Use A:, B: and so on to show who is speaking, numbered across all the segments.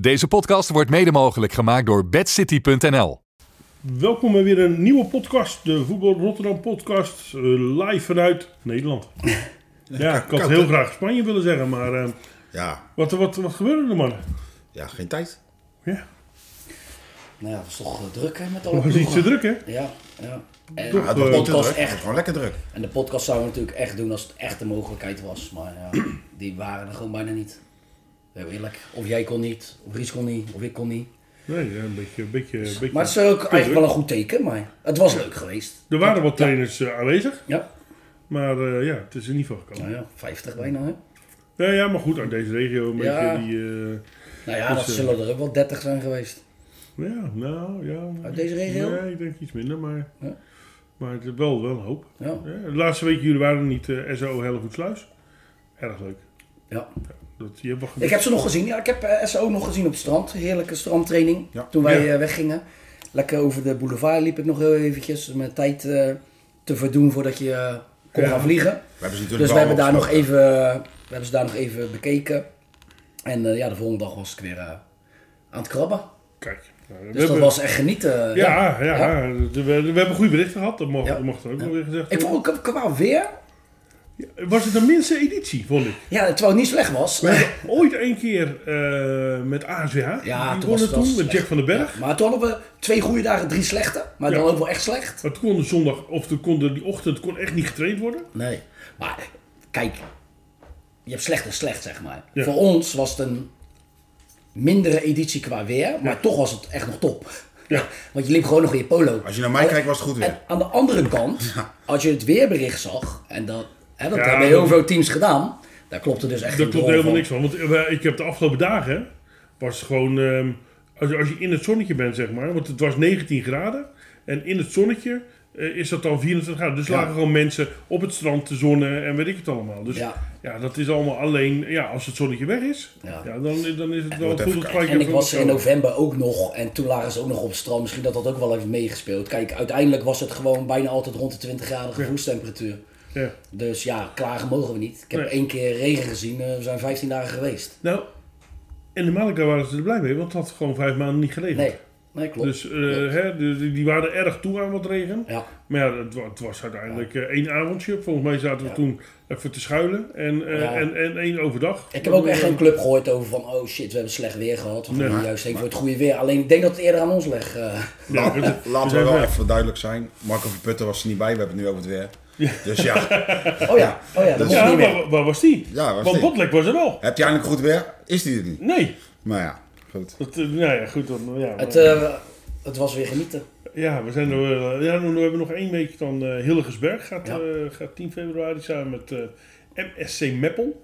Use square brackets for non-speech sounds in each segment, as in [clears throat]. A: Deze podcast wordt mede mogelijk gemaakt door bedcity.nl.
B: Welkom bij weer een nieuwe podcast, de Voetbal Rotterdam podcast, eh, live vanuit
C: [laughs]
B: Nederland. ja, ik had
D: koud,
B: heel
D: hè?
B: graag Spanje willen zeggen, maar eh,
D: Ja,
B: wat, wat, wat gebeurde er man?
D: ja, geen tijd.
B: Ja,
C: Nou ja, het was toch eh, druk hè, met alle
B: het was iets te
C: ploegen.
B: druk hè?
C: Ja, ja. En,
B: Toch,
D: Ja,
B: eh,
D: dat was
C: podcast
D: druk.
C: echt.
D: Het was gewoon lekker druk.
C: en de podcast zouden we natuurlijk echt doen als het echt de mogelijkheid was. Maar
B: [clears throat]
C: ja, die waren er gewoon bijna niet. Heel eerlijk. Of jij kon niet, of Ries kon niet, of ik kon niet.
B: Nee, ja, een beetje, een beetje, een beetje.
C: Maar het is ook eigenlijk wel een goed teken, maar het was leuk geweest.
B: Er waren wat trainers eh, aanwezig,
C: Ja,
B: maar eh, ja, het is in ieder geval gekomen.
C: nou ja, 50 bijna hè.
B: Ja, ja, maar goed, uit deze regio een
C: Ja.
B: beetje die... eh,
C: Nou ja, dat
B: Dus, eh,
C: zullen er ook wel 30 zijn geweest.
B: ja, nou, ja.
C: Uit deze regio?
B: Nee, ik denk iets minder, maar...
C: Ja.
B: Maar het is wel, wel een hoop.
C: Ja,
B: Ja, de laatste week, jullie waren er niet eh SO Hellevoetsluis. Erg leuk.
C: ja.
B: Dat, je hebt wel
C: Ik heb ze nog gezien. Ja, ik heb eh, SO nog gezien op het strand. Heerlijke strandtraining.
D: Ja.
C: Toen wij
B: Ja.
C: eh, weggingen. Lekker over de boulevard liep ik nog heel eventjes. om Mijn tijd eh, te verdoen voordat je eh, kon
B: Ja.
C: gaan vliegen.
D: We hebben ze natuurlijk
C: Dus we
D: wel
C: hebben, daar nog
D: opgesloten.
C: even, eh, we hebben ze daar nog even bekeken. En eh, ja, de volgende dag was ik weer eh, aan het krabben.
B: Kijk. nou, we
C: Dus dat
B: hebben-
C: was echt genieten.
B: Ja, ja, We, we hebben goede berichten gehad. Dat mocht,
C: Ja.
B: dat mocht ook wel weer gezegd
C: Ik
B: worden.
C: vond ook qua weer,
B: Was het de minste editie, vond ik.
C: ja, terwijl het niet slecht was.
B: Ooit een keer eh, met ASWH.
C: Ja,
B: Die
C: toen
B: wonnen
C: was het wel
B: toen met
C: slecht.
B: Jack van den Berg.
C: Ja, maar toen hadden we twee goede dagen, drie slechte. Maar
B: Ja.
C: dan ook wel echt slecht.
B: Maar het kon de zondag, of het kon de, die ochtend kon echt niet getraind worden.
C: Nee. Maar kijk, je hebt slecht en slecht, zeg maar.
B: Ja.
C: Voor ons was het een mindere editie qua weer, maar toch was het echt nog top.
B: Ja.
C: [laughs] Want je liep gewoon nog in je polo.
D: Als je naar mij
C: En-
D: kijkt, was het goed weer.
C: En aan de andere kant, als je het weerbericht zag, en dat, hè, dat
B: Ja,
C: hebben heel
B: dat-
C: veel teams gedaan, daar klopte dus echt
B: Daar
C: niet
B: klopt helemaal niks van. Want eh, ik heb de afgelopen dagen was het gewoon. ehm, als, je- als je in het zonnetje bent, zeg maar. Want het was 19 graden. En in het zonnetje eh, is dat dan 24 graden. Dus
C: Ja.
B: lagen gewoon mensen op het strand te zonnen en weet ik het allemaal. Dus ja,
C: Ja.
B: dat is allemaal alleen. Ja, als het zonnetje weg is, ja.
C: Ja.
B: dan, dan is het wel
D: wordt
B: goed
D: even
B: dat het
D: koud.
B: gelijk
C: En ik
B: even
C: was er in
B: zo-
C: november ook nog, en toen lagen ze ook nog op het strand. Misschien dat dat ook wel heeft meegespeeld. Kijk, uiteindelijk was het gewoon bijna altijd rond de 20 graden gevoelstemperatuur.
B: Ja.
C: Dus ja, klagen mogen we niet. Ik heb
B: Nee.
C: één keer regen gezien. eh, we zijn 15 dagen geweest.
B: Nou, in de Malaga waren ze er blij mee, want het had gewoon vijf maanden niet gelegen.
C: Nee, nee klopt.
B: Dus eh, hè, die, die- die waren erg toe aan wat regen.
C: ja,
B: Maar ja, het, wa- het was uiteindelijk eh, één avondje. Volgens mij zaten we
C: Ja.
B: toen even te schuilen. En, eh,
C: Ja.
B: en, en één overdag.
C: ik heb ook echt geen club gehoord over van, oh shit, we hebben slecht weer gehad. Of
B: Nee.
C: nee, juist heen voor het goede weer. Alleen ik denk dat het eerder aan ons ligt. eh.
B: Ja,
D: Laat-
B: het-
D: Laten
B: we
D: we
B: zijn
D: wel
B: weg.
D: even duidelijk zijn. Marco van Putten was er niet bij. We hebben het nu over het weer. Dus
B: [laughs]
D: ja,
C: Oh ja, oh ja, dat mocht
B: Ja,
C: niet meer.
B: waar, waar was die?
D: Ja, waar was
B: Want
D: die?
B: Botlek was er wel.
D: heb je eindelijk goed weer? Is die er niet?
B: Nee.
D: Maar ja, goed.
B: Dat, eh, nou ja, goed. Dan, ja,
C: Het,
B: maar-
C: eh, het was weer genieten.
B: ja, we zijn er, eh, ja, we hebben nog één week dan eh Hillegersberg. Gaat,
C: Ja.
B: eh, gaat 10 februari samen met eh, MSC Meppel.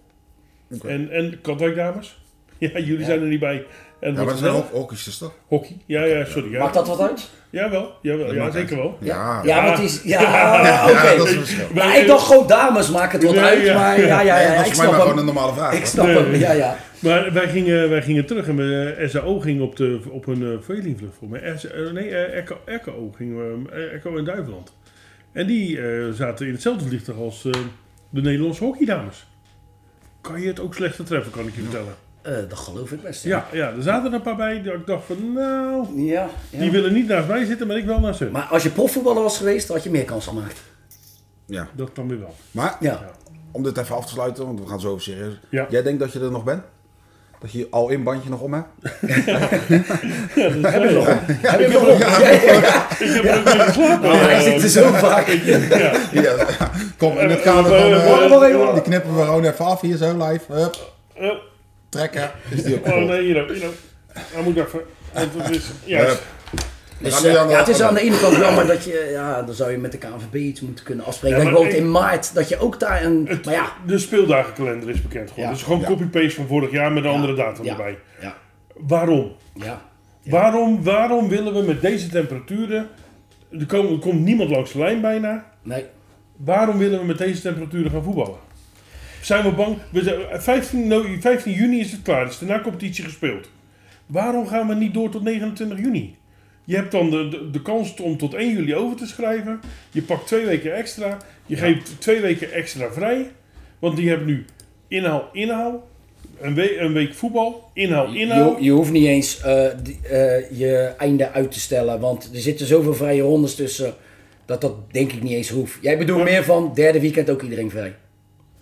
B: En, en Katwijk dames. [laughs] Ja, jullie
C: Ja.
B: zijn er niet bij. En
D: Ja, maar
B: wordt
D: dat zijn
B: wel
D: ook hockeysters toch?
B: hockey. Ja, ja, sorry. Ja.
C: Maakt dat wat uit?
B: Jawel, jawel
D: Dat
B: ja,
D: maakt
B: zeker
D: uit.
B: wel.
D: Ja,
C: Ja, want die is... Ja, oké.
D: Ja, dat is het verschil.
C: Nou, ik dacht gewoon dames maken het wat
B: Nee,
C: uit,
B: ja.
C: maar ja, ja, ja,
D: Nee, dat
C: ik
D: is voor mij
C: snap
D: maar gewoon een
C: hem.
D: normale vraag.
C: Ik
D: hoor.
C: snap
B: Nee.
C: hem, ja, ja.
B: Maar wij gingen, wij gingen terug en we, eh, SAO ging op, de, op een uh, Veelingvlucht voor mij. S- eh, nee, eh, Echo- Echo ging we, eh, Echo in Duiveland. En die eh, zaten in hetzelfde vliegtuig als eh, de Nederlandse hockeydames. Kan je het ook slechter treffen, kan ik je vertellen.
C: Eh, dat geloof ik best.
B: Ja, ja, er zaten er een paar bij die ik dacht van, nou,
C: Ja, ja.
B: die willen niet naast mij zitten, maar ik wel naast hun.
C: Maar als je profvoetballer was geweest, had je meer kans gemaakt.
D: Ja.
B: Dat dan weer wel.
D: Maar
C: Ja.
D: om dit even af te sluiten, want we gaan zo serieus.
B: Ja.
D: Jij denkt dat je er nog bent? Dat je al in bandje nog om hebt?
C: Heb je nog? Heb je nog? Ja,
B: Ik heb er ook weer geslapen.
C: ja, Hij
B: Eh,
C: zit er zo vaak.
D: Ja, kom in het kader van.
B: Eh,
D: eh,
C: nog even.
D: die knippen we gewoon even af hier zo live. Hup,
B: eh,
D: trekken. Is die
B: Oh
D: op?
B: nee, hier ook, hier ook. Hij moet even. want het is-
D: Ja.
B: Juist.
C: Dus,
D: gaan nu
C: eh,
D: aan de-
C: ja, het is aan de ene kant jammer dat je, ja, dan zou je met de KNVB iets moeten kunnen afspreken.
B: Ja, maar
C: bijvoorbeeld
B: ik-
C: in maart, dat je ook daar een, maar ja.
B: De speeldagenkalender is bekend geworden.
C: Ja.
B: Dus gewoon
D: Ja.
B: copy-paste van vorig jaar met een andere datum
C: ja,
B: erbij.
C: Ja,
B: Waarom?
C: ja.
B: Waarom? Waarom willen we met deze temperaturen... Er, komen, er komt niemand langs de lijn bijna.
C: Nee,
B: Waarom willen we met deze temperaturen gaan voetballen? Zijn we bang? We zijn, 15, no- 15 juni is het klaar. Is de na-competitie gespeeld. Waarom gaan we niet door tot 29 juni? Je hebt dan de, de, de kans om tot 1 juli over te schrijven. Je pakt twee weken extra. Je geeft twee weken extra vrij. Want die hebben nu inhaal, inhaal. Een, we- een week voetbal, inhoud,
C: Je,
B: inhoud.
C: je hoeft niet eens eh, die- eh, je einde uit te stellen, want er zitten zoveel vrije rondes tussen dat dat denk ik niet eens hoeft. Jij bedoelt meer van derde weekend ook iedereen vrij.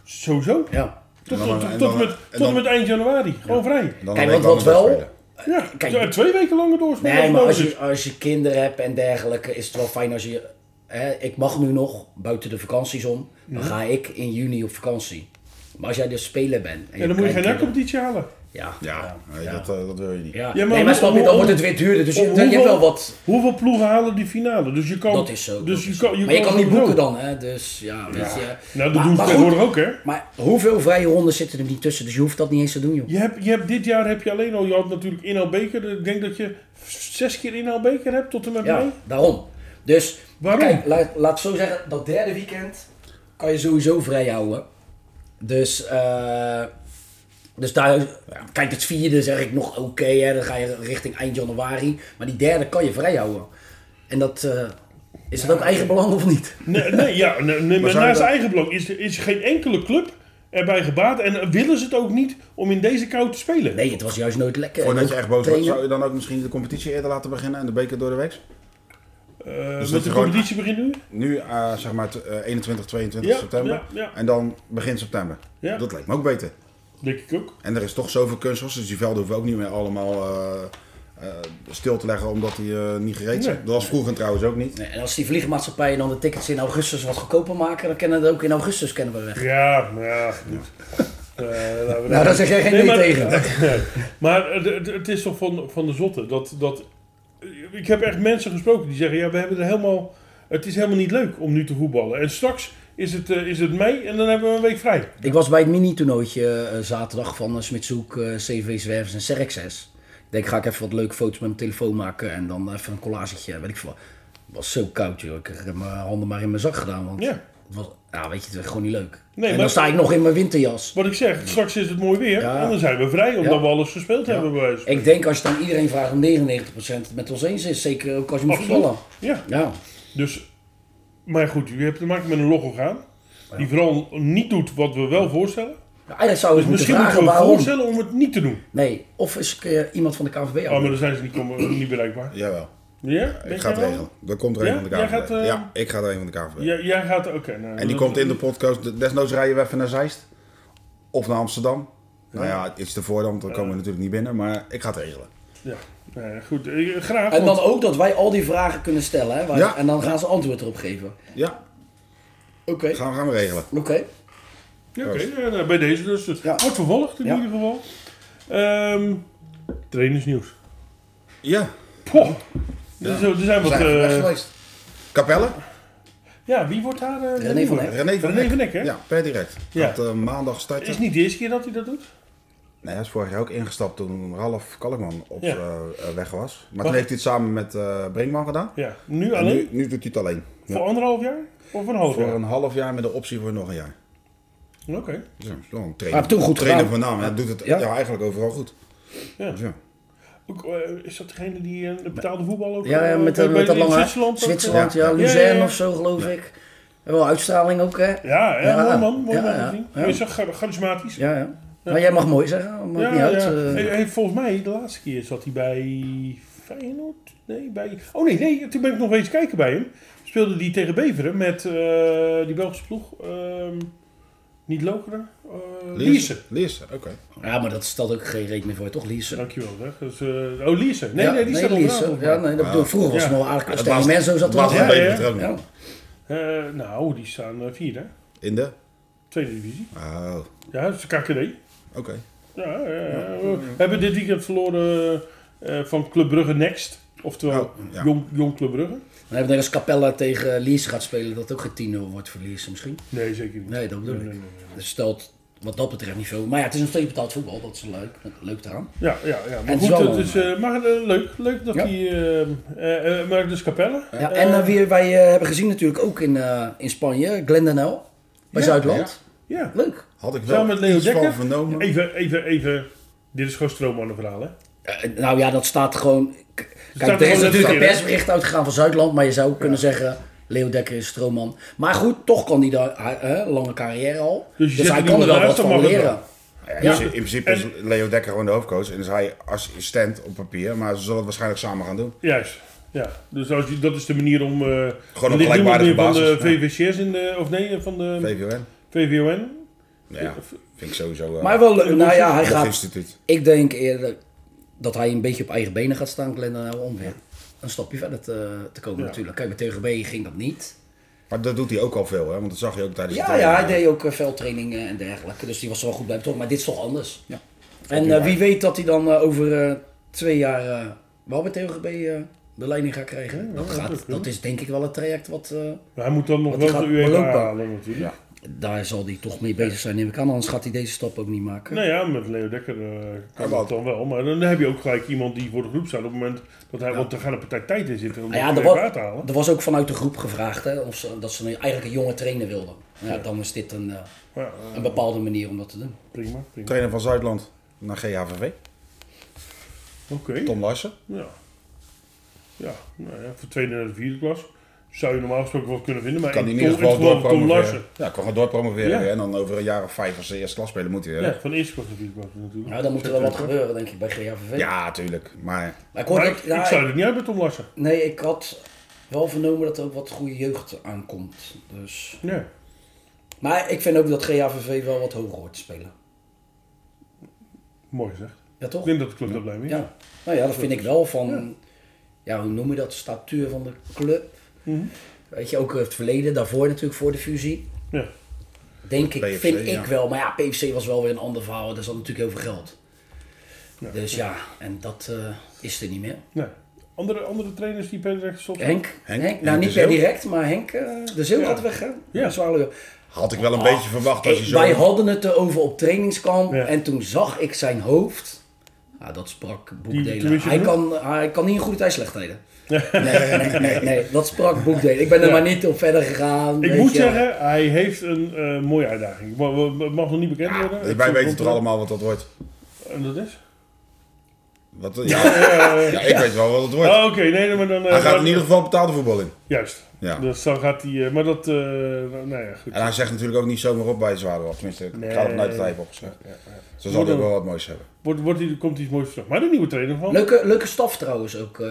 B: Sowieso.
C: Ja.
B: Tot,
D: En
B: tot,
D: dan-
B: tot,
D: en
B: tot
D: dan-
B: met,
D: en
B: tot
D: dan-
B: en met eind januari. Gewoon vrij.
D: Dan
C: Kijk,
D: een week
C: want wat
D: langer
C: wel-
D: spelen.
B: Ja,
C: kijk-
B: zo- twee weken langer doorspelen.
C: Nee, maar
B: dat
C: als
B: is
C: je, als je kinderen hebt en dergelijke, is het wel fijn als je. Hè, ik mag nu nog, buiten de vakanties om, dan
B: Mhm.
C: ga ik in juni op vakantie. Maar als jij dus speler bent.
B: En dan moet je geen
C: kleinkinderen-
B: nakcompetitie halen.
C: Ja,
D: Ja, nee, dat, eh, dat wil je niet.
C: Ja.
B: Ja, maar
C: nee, maar snap je,
B: hoe-
C: dan
B: hoe-
C: wordt het weer duurder. Dus je,
B: Om
C: je hebt wel wat.
B: Hoeveel ploegen halen die finale? Dus je kan,
C: Dat is zo.
B: Dus
C: dat
B: je
C: is zo.
B: kan, je
C: maar je kan niet
B: sowieso-
C: boeken dan, hè? Dus ja, weet je.
B: Nou, dat
C: Maar-
B: doen ze
C: maar
B: tegenwoordig
C: goed,
B: ook, hè?
C: Maar hoeveel vrije ronden zitten er niet tussen? Dus je hoeft dat niet eens te doen, joh.
B: Je hebt, je hebt, dit jaar heb je alleen al, je had natuurlijk inhaalbeker. Ik denk dat je zes keer inhaalbeker hebt tot en met
C: Ja,
B: mei.
C: daarom. Dus
B: Waarom?
C: kijk, laat, laat ik zo zeggen, dat derde weekend kan je sowieso vrij houden. Dus, eh, dus daar, kijk, het vierde zeg ik nog oké, hè, dan ga je richting eind januari. Maar die derde kan je vrij houden. En dat, eh, is dat ook eigen belang of niet?
B: Nee, nee, ja, nee, nee, maar
D: zou
B: naast
D: dat-
B: eigen belang is, er- is geen enkele club erbij gebaat. En willen ze het ook niet om in deze kou te spelen.
C: Nee, het was juist nooit lekker.
D: Voordat
C: En
D: je
C: ook
D: echt boos wordt,
C: trainen.
D: zou je dan ook misschien de competitie eerder laten beginnen en de beker door de week?
B: Eh,
D: dat
B: met
D: je
B: de
D: gewoon-
B: competitie begint nu.
D: Nu eh, zeg maar t- eh, 21, 22
B: Ja,
D: september
B: ja, ja.
D: en dan begin september.
B: Ja.
D: Dat lijkt me ook beter.
B: Denk ik ook.
D: En er is toch zoveel kunstgras, dus die velden hoeven ook niet meer allemaal eh, eh, stil te leggen omdat die eh, niet gereed zijn.
B: Nee.
D: Dat was vroeger trouwens ook niet.
C: Nee, En als die vliegmaatschappijen dan de tickets in augustus wat goedkoper maken, dan kennen we dat ook in augustus kennen we weg.
B: Ja, maar ja, goed. Eh, laten we
C: Nou, daar zeg jij geen nee,
B: maar,
C: tegen.
B: [laughs] Nee. maar eh, d- d- het is toch van, van de zotte. Dat, dat, ik heb echt mensen gesproken die zeggen: ja, we hebben er helemaal. Het is helemaal niet leuk om nu te voetballen. En straks is het, eh, is het mei en dan hebben we een week vrij.
C: Ik was bij het mini-toernooitje eh, zaterdag van eh, Smitshoek, eh, CV Zwervers en Serxes. Ik denk, ga ik even wat leuke foto's met mijn telefoon maken en dan even een collagetje, weet ik veel. wat. Het was zo koud, joh. Ik heb mijn handen maar in mijn zak gedaan, want
B: Ja.
C: het was, ja, weet je, het was gewoon niet leuk.
B: Nee,
C: en
B: maar-
C: dan sta ik nog in mijn winterjas.
B: Wat ik zeg, straks is het mooi weer
C: Ja.
B: en dan zijn we vrij omdat
C: Ja.
B: we alles gespeeld hebben. Bij wijze van
C: Ik denk, als je dan iedereen vraagt, om 99% het met ons eens is. Zeker ook als je moet
B: Absoluut.
C: voetballen.
B: Ja,
C: Ja,
B: dus. Maar goed, je hebt te maken met een logogaan. Die vooral niet doet wat we wel voorstellen.
C: Nou, eigenlijk zou je eens moeten
B: Dus Misschien moeten we
C: vragen waarom.
B: voorstellen om het niet te doen.
C: Nee, of is eh, iemand van de KVB
B: Oh, maar dan zijn ze niet, komen, [clears throat] niet bereikbaar.
D: Jawel,
B: Ja?
D: ik
B: Denk
D: ga
B: jij
D: het
B: wel?
D: regelen. Er komt er een
B: Ja?
D: van de
B: Jij
D: KVB.
B: gaat, eh,
D: Ja, ik ga er een van de KVB.
B: Ja, jij gaat, oké. nou,
D: En die
B: dat-
D: komt in de podcast. Desnoods rijden we even naar Zeist. Of naar Amsterdam. Nou ja, iets ervoor dan, want dan komen we natuurlijk niet binnen. Maar ik ga het regelen.
B: Ja, nou ja, goed. Eh, graag.
C: En
B: want-
C: dan ook dat wij al die vragen kunnen stellen. Hè, waar-
D: Ja.
C: En dan gaan ze antwoord erop geven.
D: Ja,
C: Oké.
D: gaan we, gaan we regelen.
C: Oké.
B: Ja, Oké, eh, nou, bij deze dus. Het Wordt vervolgd in
C: Ja.
B: ieder geval. Ehm trainersnieuws.
D: Ja,
B: Poh. Er, zijn- er zijn wat...
D: zijn we weg
B: eh,
D: geweest. Capelle?
B: ja, wie wordt daar... eh, de
C: René van
B: nieuwe?
C: Heck.
D: René van
B: René
D: Heck.
B: van Heck, hè?
D: Ja, per direct.
B: Ja.
D: Gaat eh, maandag
B: Het
D: starten.
B: is niet de eerste keer dat hij dat doet.
D: Nee, hij is vorig jaar ook ingestapt toen Ralf Kalkman op
B: Ja.
D: eh, eh, weg was. Maar
B: Wacht.
D: toen heeft hij het samen met eh Brinkman gedaan.
B: Ja, nu
D: En
B: alleen.
D: nu, nu doet hij het alleen. Ja.
B: Voor anderhalf jaar? Of een half
D: Voor
B: jaar?
D: een half jaar met de optie voor nog een jaar.
B: Oké.
D: Ja, wel een trainer.
C: Maar toen goed
D: trainer
C: gedaan.
D: van naam. Hij doet het
C: Ja.
D: ja. eigenlijk overal goed.
B: Ja.
D: Dus ja.
B: Ook, eh, is dat degene die eh, betaalde voetbal ook?
C: Ja,
B: eh,
C: met,
B: bij-
C: dat
B: bij-
C: met dat
B: in
C: lange haar.
B: Zwitserland? ook, eh?
C: Zwitserland, ja.
B: Ja, ja,
C: Luzern
B: ja.
C: of zo, geloof ik. En wel uitstraling ook, hè?
B: Ja, ja,
C: Ja.
B: mooi man. Mooi
C: Ja,
B: man.
C: ja,
B: te zien.
C: ja.
B: Hij is echt char- charismatisch.
C: Ja, ja. Maar jij mag mooi zeggen. dat Maakt
B: Ja,
C: niet
B: ja.
C: uit. eh.
B: Hij- hij- volgens mij, de laatste keer zat hij bij Feyenoord? Nee, bij... Oh nee, nee, toen ben ik nog eens kijken bij hem. Speelde hij tegen Beveren met eh, die Belgische ploeg. ehm, niet Lokeren. eh Lierse.
D: Lierse, oké.
C: ja, maar dat stelt ook geen rekening meer voor, toch, Liersen?
B: Dankjewel zeg. Dus, eh, oh, Lierse. Nee,
C: Ja,
B: nee, die staat
C: Liersen.
B: onderaan.
C: Ja, nee, dat bedoel ik. Vroeger was het
B: Ja.
C: nog aardig.
D: Het
C: Stel,
D: was-
C: Menzo zat er
D: Bas
C: nog
B: was
C: bij.
B: een-
D: Bever er ook
C: Ja.
D: nog.
B: Eh, nou, die staan eh, vierde. hè?
D: In de?
B: Tweede divisie.
D: Oh,
B: Ja, dat is de KKD.
D: oké.
B: Ja, ja, ja. we hebben dit weekend verloren eh, van Club Brugge Next. Oftewel,
D: Oh, ja.
B: jong, jong Club Brugge.
C: Dan hebben we als Capella tegen Liersen gaat spelen. Dat ook geen 10-0 wordt voor Liersen misschien.
B: Nee, zeker niet.
C: Nee, dat bedoel
B: Nee,
C: ik.
B: nee, nee.
C: Dus stelt wat dat betreft niet veel. Maar ja, het is nog steeds betaald voetbal. Dat is leuk. Leuk eraan.
B: Ja, ja, ja. Maar
C: En
B: goed,
C: zo.
B: het is, eh, maar eh, leuk, leuk dat
C: Ja.
B: hij... eh, eh, eh, maar dus Capelle.
C: Ja, en eh, wie wij eh, hebben gezien natuurlijk ook in, eh, in Spanje, Glendanel, bij
B: Ja,
C: Zuidland.
B: Ja.
C: Leuk.
D: Had ik wel
B: Samen met Leo
D: iets
B: Dekker.
D: van vernomen.
B: Even, even, even. Dit is gewoon stroomman verhaal, hè?
C: Eh, nou ja, dat staat gewoon... k-
B: staat
C: Kijk, er is
B: gewoon
C: natuurlijk een
B: leuk, hè?
C: persbericht uitgegaan van Zuidland, maar je zou ook kunnen zeggen... Leo Dekker is stroomman. Maar goed, toch kan hij daar... hij- hè, lange carrière al.
B: Dus
C: Dus,
B: je zet
C: hij
B: er
C: kan er wel
B: iemand
C: wat
B: naast, dan
C: van
B: mag het
C: leren.
B: wel.
D: Ja,
C: Ja.
D: In in principe is Leo Dekker gewoon de hoofdcoach. En is hij assistent op papier. Maar ze zullen het waarschijnlijk samen gaan doen.
B: Juist. Ja, dus als je, dat is de manier om... eh
D: Gewoon op
B: ligt niemand
D: gelijkwaardige
B: meer van eh, de
D: basis.
B: VVCS in de... Of nee, van de
D: VVN.
B: VVON.
D: Nou ja, vind ik sowieso... eh
C: Maar wel leuk. Nou ja, hij
D: nog
C: gaat...
D: instituut.
C: Ik denk eerder dat hij een beetje op eigen benen gaat staan, Glenn en om weer een stapje verder te, te komen
B: Ja.
C: natuurlijk. Kijk, met TGB ging dat niet.
D: Maar dat doet hij ook al veel, hè? Want dat zag je ook tijdens de
C: Ja, ja, hij
D: training.
C: deed ook eh, veldtrainingen en dergelijke, dus die was er wel goed bij betrokken. Maar dit is toch anders.
D: Ja.
C: En
D: Oké,
C: eh, wie weet dat hij dan eh, over eh, twee jaar eh, wel bij TGB eh, de leiding gaat krijgen. dat, gaat, dat is denk ik wel het traject wat... eh,
B: Maar hij moet dan nog
C: Want die
B: wel de
C: gaat
B: UEFA
C: belopen.
B: halen natuurlijk.
C: daar zal hij toch mee bezig zijn, neem ik aan. Anders gaat hij deze stap ook niet maken.
B: Nou ja, met Leo Dekker eh, kan
D: Ja,
B: dat dan wel. Maar dan heb je ook gelijk iemand die voor de groep staat op het moment dat hij... Want er gaat een partij tijd in zitten om
C: Nou ja,
B: de
C: er, wa-
B: UEFA te halen.
C: er was ook vanuit de groep gevraagd hè, of ze, dat ze een- eigenlijk een jonge trainer wilden. Nou Ja, dan is dit een, eh,
B: Ja, eh,
C: een bepaalde manier om dat te doen.
B: prima, prima.
D: Trainer van Zuidland naar GHVV.
B: Oké.
D: Tom Larsen.
B: Ja. Ja, nou ja, voor tweede naar de vierde klas zou je normaal gesproken wel kunnen vinden. Maar
D: Kan hij in
B: Tom-
D: ieder geval
B: het geval Tom
D: doorpromoveren.
B: Larsen.
D: Ja, kan gewoon doorpromoveren.
B: Ja.
D: hè, En dan over een jaar of vijf als de eerste klas spelen moet hij weer. hè?
B: Ja, van de eerste klas naar de vierde klas natuurlijk.
C: Nou, dan moet er wel wat gebeuren, denk ik, bij GHVV.
D: Ja, tuurlijk. Maar
C: Maar ik, hoorde
B: Maar ik,
C: dat- ja,
B: ik sluit het niet uit met Tom Larsen.
C: Nee, ik had wel vernomen dat er ook wat goede jeugd aankomt. Dus.
B: Nee.
C: Maar ik vind ook dat GHVV wel wat hoger hoort te spelen.
B: Mooi gezegd.
C: Ja, toch?
B: Ik denk dat de club daar blij mee is.
C: Ja. Nou ja, dat vind ik wel van... Ja, hoe noem je dat? Statuur van de club. Weet je, ook het verleden, daarvoor natuurlijk, voor de fusie.
B: Ja.
C: Denk ik,
D: PFC,
C: vind
D: ja.
C: ik wel. Maar ja, PFC was wel weer een ander verhaal. Daar zat natuurlijk heel veel geld. dus ja, en dat eh, is er niet meer.
B: Nee. Andere, andere trainers die per direct stoppen?
C: Henk,
D: Henk?
C: Henk,
D: Henk
C: nou
D: de
C: niet
D: Zeeuw?
C: per direct, maar Henk eh, de Zeeuw gaat weg hè?
B: Ja.
C: Zwaluwe.
D: had ik wel een
C: Ah,
D: beetje verwacht
B: eh,
D: als je
C: ik-
D: zo...
C: Wij hadden het erover op trainingskamp
B: Ja.
C: en toen zag ik zijn hoofd. Nou, dat sprak
B: Die-
C: boekdelen.
B: toen wist je
C: Hij
B: het
C: kan, hij kan niet in goede tijd slecht delen. Nee, nee, nee, nee, dat sprak boekdelen. Ik ben er maar niet op verder gegaan.
B: Ik
C: weet
B: moet
C: je.
B: zeggen, hij heeft een eh, mooie uitdaging. Maar we- het mag nog niet bekend worden.
D: Ja,
B: Het
D: wij
B: komt
D: weten toch
B: er-
D: allemaal wat dat wordt.
B: En dat is?
D: Wat, ja,
B: Eh,
D: ja, ik weet wel wat het wordt.
B: oh, Oké, nee, maar dan... eh,
D: Hij gaat
B: dan-
D: in ieder geval betaalde voetbal in.
B: Juist.
D: Ja.
B: Dus dan gaat hij... eh, maar dat... eh nou nou ja, goed.
D: En hij zegt natuurlijk ook niet zomaar op bij Zwaarderland. Tenminste, ik
B: Nee.
D: ga ervan uit dat hij heeft opgezegd. Zo zal hij ook wel wat moois hebben.
B: Wordt, wordt hij, komt iets moois terug. Maar de nieuwe trainer van...
C: Leuke, leuke staf trouwens ook. eh,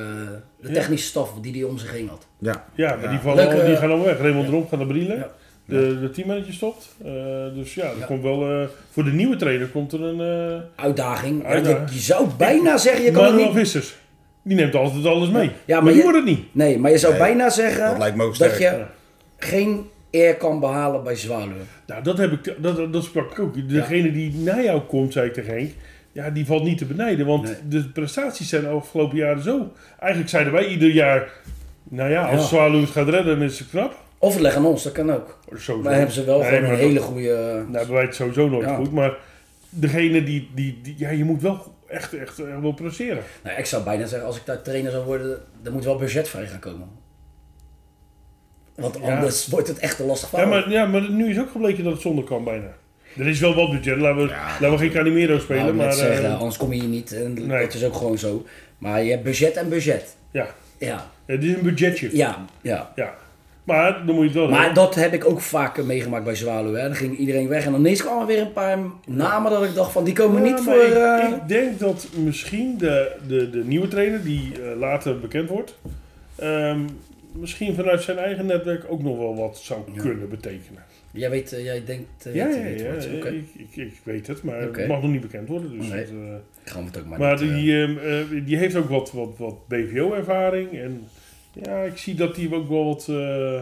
C: de technische staf die die om zich heen had.
D: Ja.
B: Ja, maar Die, vallen,
C: Leuke-
B: die gaan allemaal weg. Raymond Romp gaat naar Brielen.
C: eh, Ja.
B: De, de teammanager stopt. Eh, dus ja, er
C: Ja.
B: komt wel... eh, voor de nieuwe trainer komt er een... eh,
C: Uitdaging. Ja,
B: Uitdaging.
C: je, je zou bijna zeggen, je kan het
B: Manuel
C: niet...
B: Vissers. Die neemt altijd alles mee. maar,
C: maar
B: die
C: je-
B: wordt het niet.
C: Nee, maar je zou
D: Nee,
C: bijna zeggen
D: dat lijkt me ook
C: dat
D: sterk.
C: je geen eer kan behalen bij Zwaluwe.
B: Nou, dat, heb ik, dat, dat sprak ik ook. Degene die na jou komt, zei ik tegen Henk. Ja, die valt niet te benijden. Want
C: Nee.
B: de prestaties zijn de afgelopen jaren zo. Eigenlijk zeiden wij ieder jaar... Nou ja, als
C: Ja.
B: Zwaluw het gaat redden, dan is het knap.
C: Of het leggen aan ons, dat kan ook.
B: Sowieso.
C: Maar hebben ze wel
B: Nee,
C: gewoon
B: maar
C: een
B: dat-
C: hele goede...
B: Nou, hebben wij het sowieso nooit
C: Ja.
B: goed. Maar degene die, die, die... Ja, je moet wel echt, echt eh, wel presteren.
C: Nou, ik zou bijna zeggen, als ik daar trainer zou worden, er moet wel budget vrij gaan komen. Want
B: Ja.
C: anders wordt het echt een lastig
B: Ja
C: verhaal.
B: maar, ja, maar nu is ook gebleken dat het zonder kan bijna. Er is wel wat budget. Laten we,
D: Ja.
B: laten we geen Calimero spelen.
C: Nou,
B: maar,
C: net zeggen,
B: eh,
C: anders kom je hier niet. En
B: Nee.
C: Dat is ook gewoon zo. Maar je hebt budget en budget.
B: ja.
C: Ja,
B: Het is een budgetje. Ja.
C: ja, ja.
B: Maar dan moet je het wel
C: Maar
B: hebben.
C: dat heb ik ook vaker meegemaakt bij Zwaluwe. hè. Dan ging iedereen weg en dan ineens kwamen weer een paar namen dat ik dacht van die komen
B: Ja,
C: niet
B: maar
C: voor...
B: ik,
C: eh,
B: ik denk dat misschien de, de, de nieuwe trainer, die eh, later bekend wordt, ehm, misschien vanuit zijn eigen netwerk ook nog wel wat zou kunnen betekenen.
C: Jij weet, eh, jij denkt... eh,
B: Ja,
C: dat
B: ja,
C: hij
B: ja.
C: dit wordt. Oké.
B: Ik, ik, ik weet het, maar
C: Oké.
B: het mag nog niet bekend worden. Dus
C: Nee.
B: dat, eh,
C: Gaan we het ook maar,
B: Maar
C: niet, eh,
B: die, ehm, eh, die heeft ook wat, wat, wat BVO-ervaring. En ja, ik zie dat die ook wel wat, eh,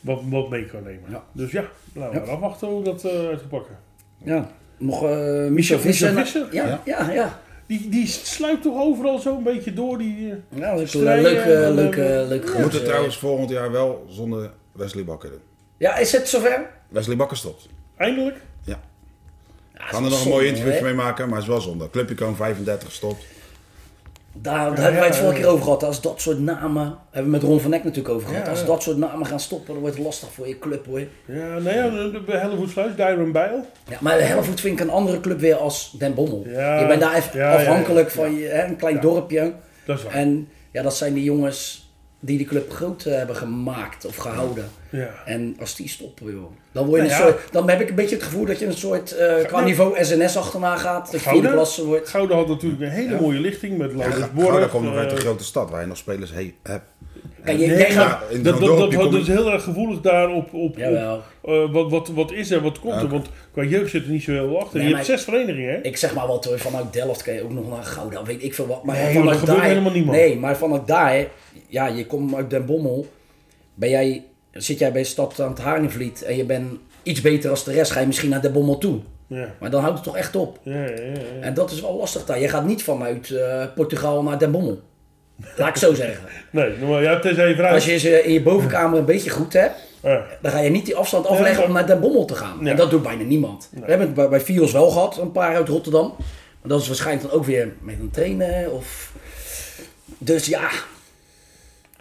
B: wat, wat mee kan nemen.
C: Ja.
B: Dus ja, laten we
C: Ja.
B: maar afwachten hoe dat eh uit gaat pakken.
C: Ja. Nog eh Michel Visser.
B: Visser?
C: Ja, ja, ja. ja.
B: Die, die sluipt toch overal zo een beetje door? Die, eh,
C: dat is ook een
B: Strijden,
C: leuke,
B: eh,
C: leuke, leuke
D: We
C: gozer.
D: moeten trouwens volgend jaar wel zonder Wesley Bakker doen.
C: Ja, is het zover?
D: Wesley Bakker stopt.
B: eindelijk? Ah,
C: Ja,
D: Gaan er nog een mooi interviewtje mee maken, maar is wel zonde. Club Icoon 35 stopt.
C: Daar, daar hebben wij het
B: ja,
C: vorige
B: ja.
C: keer over gehad. Als dat soort namen, hebben we met Ron van Eck natuurlijk over gehad.
B: Ja,
C: Als
B: ja.
C: dat soort namen gaan stoppen, dan wordt het lastig voor je club hoor.
B: Ja, nou ja, de- de Hellevoetsluis, Dyron Bijl.
C: Ja, maar de Helvoet vind ik een andere club weer als Den Bommel.
B: Ja,
C: je bent daar even
B: ja, ja,
C: afhankelijk van je, hè, een klein dorpje.
B: Dat is waar.
C: En ja, dat zijn die jongens die de club groot eh, hebben gemaakt of gehouden.
B: Ja.
C: En als die stoppen, joh, dan, word je
B: Nou
C: een
B: ja.
C: soort, dan heb ik een beetje het gevoel dat je een soort eh, qua
B: nou-
C: niveau SNS achterna gaat. Dat je vierde klasse wordt.
B: Gouden had natuurlijk een hele mooie lichting met
D: Ja,
B: Laurens
D: Ga-
B: Borg.
D: Gouda komt nog
B: eh,
D: uit de grote stad waar je nog spelers he- hebt.
C: Kijk, je,
B: Nee,
C: jij gaat-
B: maar-
D: Ja, in
B: dat,
D: zo'n
B: dat, dat,
D: dorpje
B: dat
D: kom
B: is
D: je-
B: heel erg gevoelig daar op, op, op
C: Jawel.
B: eh, wat, wat, wat is er, wat komt er. Want qua jeugd zit er niet zo heel veel achter.
C: Nee,
B: je
C: maar
B: hebt zes verenigingen, hè?
C: Ik zeg maar wat, hoor, vanuit Delft kan je ook nog naar Gouda, weet ik veel wat. Maar
B: Nee, joh,
C: vanuit
B: dat gebeurt
C: daar-
B: helemaal niet, man.
C: Nee, maar vanuit daar, ja, je komt uit Den Bommel, ben jij, zit jij bij Stad aan het Haringvliet en je bent iets beter als de rest, ga je misschien naar Den Bommel toe.
B: Ja.
C: Maar dan houdt het toch echt op.
B: Ja, ja, ja, ja.
C: En dat is wel lastig daar. Je gaat niet vanuit eh, Portugal naar Den Bommel. Laat ik zo zeggen.
B: Nee, nou, maar ja, tenzij je vraagt...
C: Als je ze in je bovenkamer een beetje goed hebt,
B: Ja.
C: dan ga je niet die afstand afleggen
B: maar-
C: om naar Den Bommel te gaan.
B: Ja.
C: En dat doet bijna niemand. We hebben het bij, bij Fios wel gehad, een paar uit Rotterdam. Maar dat is waarschijnlijk dan ook weer met een trainer of... Dus ja,